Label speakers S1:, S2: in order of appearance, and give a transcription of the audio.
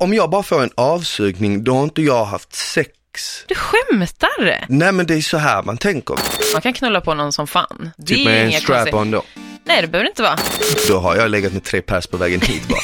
S1: om jag bara får en avsugning, då har inte jag haft sex.
S2: Du skämtar?
S1: Nej men det är så här man tänker.
S2: Man kan knulla på någon som fan. Det
S1: Typ
S2: är
S1: med en
S2: inga konstigt.
S1: strap-on då.
S2: Nej, det behöver det inte vara.
S1: Då har jag legat med tre pers på vägen hit bara.